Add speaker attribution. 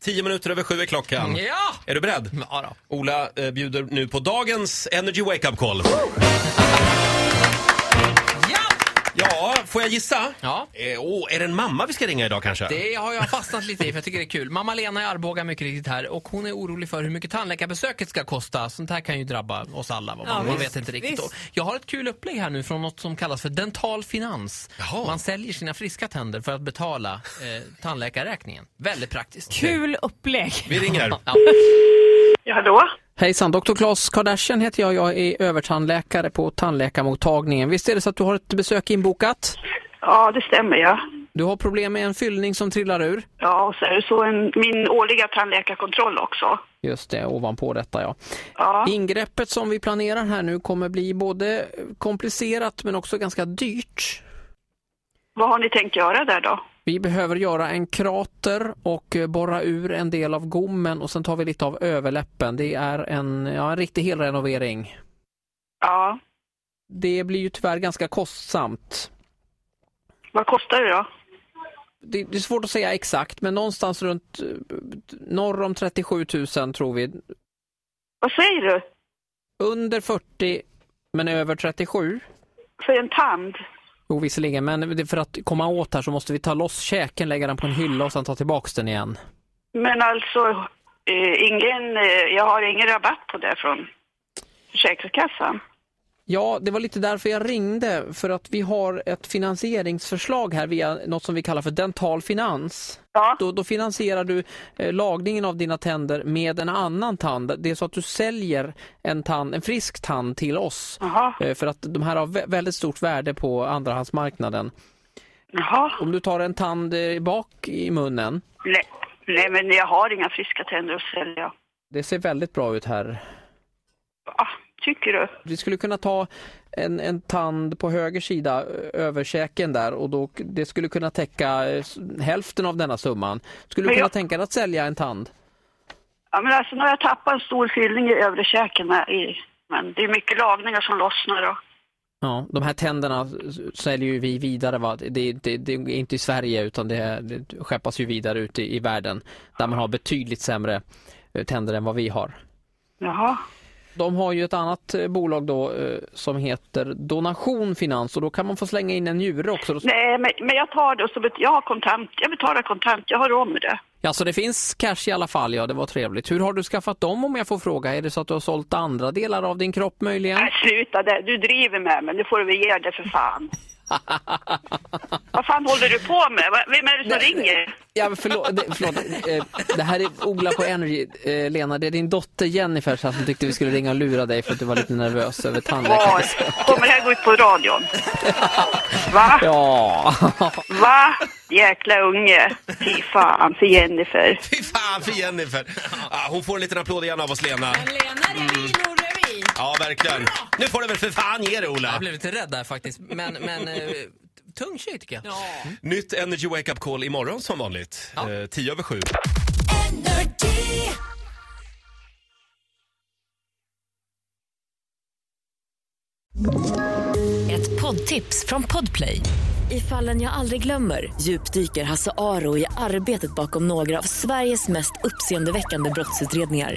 Speaker 1: Tio minuter över sju är klockan.
Speaker 2: Ja! Mm.
Speaker 1: Är du beredd?
Speaker 2: Ja då.
Speaker 1: Ola eh, bjuder nu på dagens Energy Wake Up Call.
Speaker 2: Ja!
Speaker 1: Ja, får jag gissa?
Speaker 2: Ja.
Speaker 1: Eh, åh, är det en mamma vi ska ringa idag kanske?
Speaker 2: Det har jag fastnat lite i för jag tycker det är kul. Mamma Lena i Arboga mycket riktigt här och hon är orolig för hur mycket tandläkarbesöket ska kosta. Sånt här kan ju drabba oss alla. Vad man,
Speaker 3: Ja,
Speaker 2: man
Speaker 3: visst,
Speaker 2: vet inte riktigt.
Speaker 3: visst.
Speaker 2: Och jag har ett kul upplägg här nu från något som kallas för dental finans.
Speaker 1: Jaha.
Speaker 2: Man säljer sina friska tänder för att betala eh, tandläkarräkningen. Väldigt praktiskt.
Speaker 3: Kul upplägg.
Speaker 1: Vi ringer.
Speaker 2: Ja.
Speaker 4: Ja, hallå?
Speaker 2: Hejsan, Dr. Claes Kardashian heter jag. Jag är övertandläkare på tandläkarmottagningen. Visst är det så att du har ett besök inbokat?
Speaker 4: Ja, det stämmer ja.
Speaker 2: Du har problem med en fyllning som trillar ur?
Speaker 4: Ja, och så är det så en, min årliga tandläkarkontroll också.
Speaker 2: Just det, ovanpå detta ja.
Speaker 4: Ja,
Speaker 2: Ingreppet som vi planerar här nu kommer bli både komplicerat men också ganska dyrt.
Speaker 4: vad har ni tänkt göra där då?
Speaker 2: Vi behöver göra en krater och eh, borra ur en del av gommen och sen tar vi lite av överläppen. Det är en, ja, en riktig helrenovering.
Speaker 4: Ja,
Speaker 2: Det blir ju tyvärr ganska kostsamt.
Speaker 4: vad kostar det då?
Speaker 2: Det, det är svårt att säga exakt men någonstans runt eh, norr om 37 000 tror vi.
Speaker 4: Vad säger du?
Speaker 2: Under 40 men över 37.
Speaker 4: För en tand?
Speaker 2: Jo visserligen men det- för att komma åt här så måste vi ta loss käken, lägga den på en hylla och sen ta tillbaks den igen.
Speaker 4: Men alltså, eh, ingen, eh, jag har ingen rabatt på det från Försäkringskassan.
Speaker 2: Ja, det var lite därför jag ringde, för att vi har ett finansieringsförslag här via något som vi kallar för dental finans.
Speaker 4: Ja,
Speaker 2: Då, då finansierar du eh, lagningen av dina tänder med en annan tand. Det är så att du säljer en, tand, en frisk tand till oss.
Speaker 4: jaha,
Speaker 2: Eh, För att de här har vä- väldigt stort värde på andrahandsmarknaden.
Speaker 4: jaha.
Speaker 2: Om du tar en tand eh, bak i munnen,
Speaker 4: Nej, nej, men jag har inga friska tänder att sälja.
Speaker 2: det ser väldigt bra ut här.
Speaker 4: Ah, tycker du?
Speaker 2: Vi skulle kunna ta en, en tand på höger sida ö- över käken där och då, det skulle kunna täcka eh, s- hälften av denna summan. Skulle du
Speaker 4: Men
Speaker 2: kunna
Speaker 4: jag-
Speaker 2: tänka dig att sälja en tand?
Speaker 4: Ja, men alltså nu har jag tappat en stor fyllning i övre käken. här i- Men det är mycket lagningar som lossnar och...
Speaker 2: Ja, de här tänderna s- säljer ju vi vidare. Va? Det, det, det är inte i Sverige utan det, det skeppas ju vidare ut i, i världen där man har betydligt sämre eh, tänder än vad vi har.
Speaker 4: Jaha.
Speaker 2: De har ju ett annat eh, bolag då eh, som heter Donation Finans och då kan man få slänga in en njure också. Då-
Speaker 4: Nej, men, men jag tar det och så bet- jag har kontant. Jag betalar kontant. Jag har råd med det.
Speaker 2: Ja, så det finns cash i alla fall, ja det var trevligt. Hur har du skaffat dem om jag får fråga? Är det så att du har sålt andra delar av din kropp möjligen?
Speaker 4: Nej, sluta det. Du driver med mig. Nu får du väl ge dig för fan. Vad fan håller du på med? Va- Vem är det som ringer?
Speaker 2: Ja, men förlåt, det, förlåt. eh, det här är Ola på Energy, eh, Lena. Det är din dotter Jennifer så här, som tyckte vi skulle ringa och lura dig för att du var lite nervös över
Speaker 4: Var?
Speaker 2: tandläkaren.
Speaker 4: Kommer det här gå ut på radion? Va?
Speaker 2: Ja,
Speaker 4: Va? Jäkla unge. Fy fan för Jennifer.
Speaker 1: Fy fan för Jennifer! Ah, hon får en liten applåd igen av oss, Lena.
Speaker 3: Men Lena revir nog revir.
Speaker 1: Ja, verkligen. Nu får du väl för fan ge dig, Ola!
Speaker 2: jag blev lite rädd där faktiskt. Men, men eh, tung tjej tycker jag.
Speaker 3: Ja.
Speaker 1: Nytt Energy Wake Up Call imorgon som vanligt.
Speaker 2: Ja.
Speaker 1: Eh, tio över sju.
Speaker 5: Energy.
Speaker 6: Ett poddtips från Podplay. I fallen jag aldrig glömmer djupdyker Hasse Aro i arbetet bakom några av Sveriges mest uppseendeväckande brottsutredningar.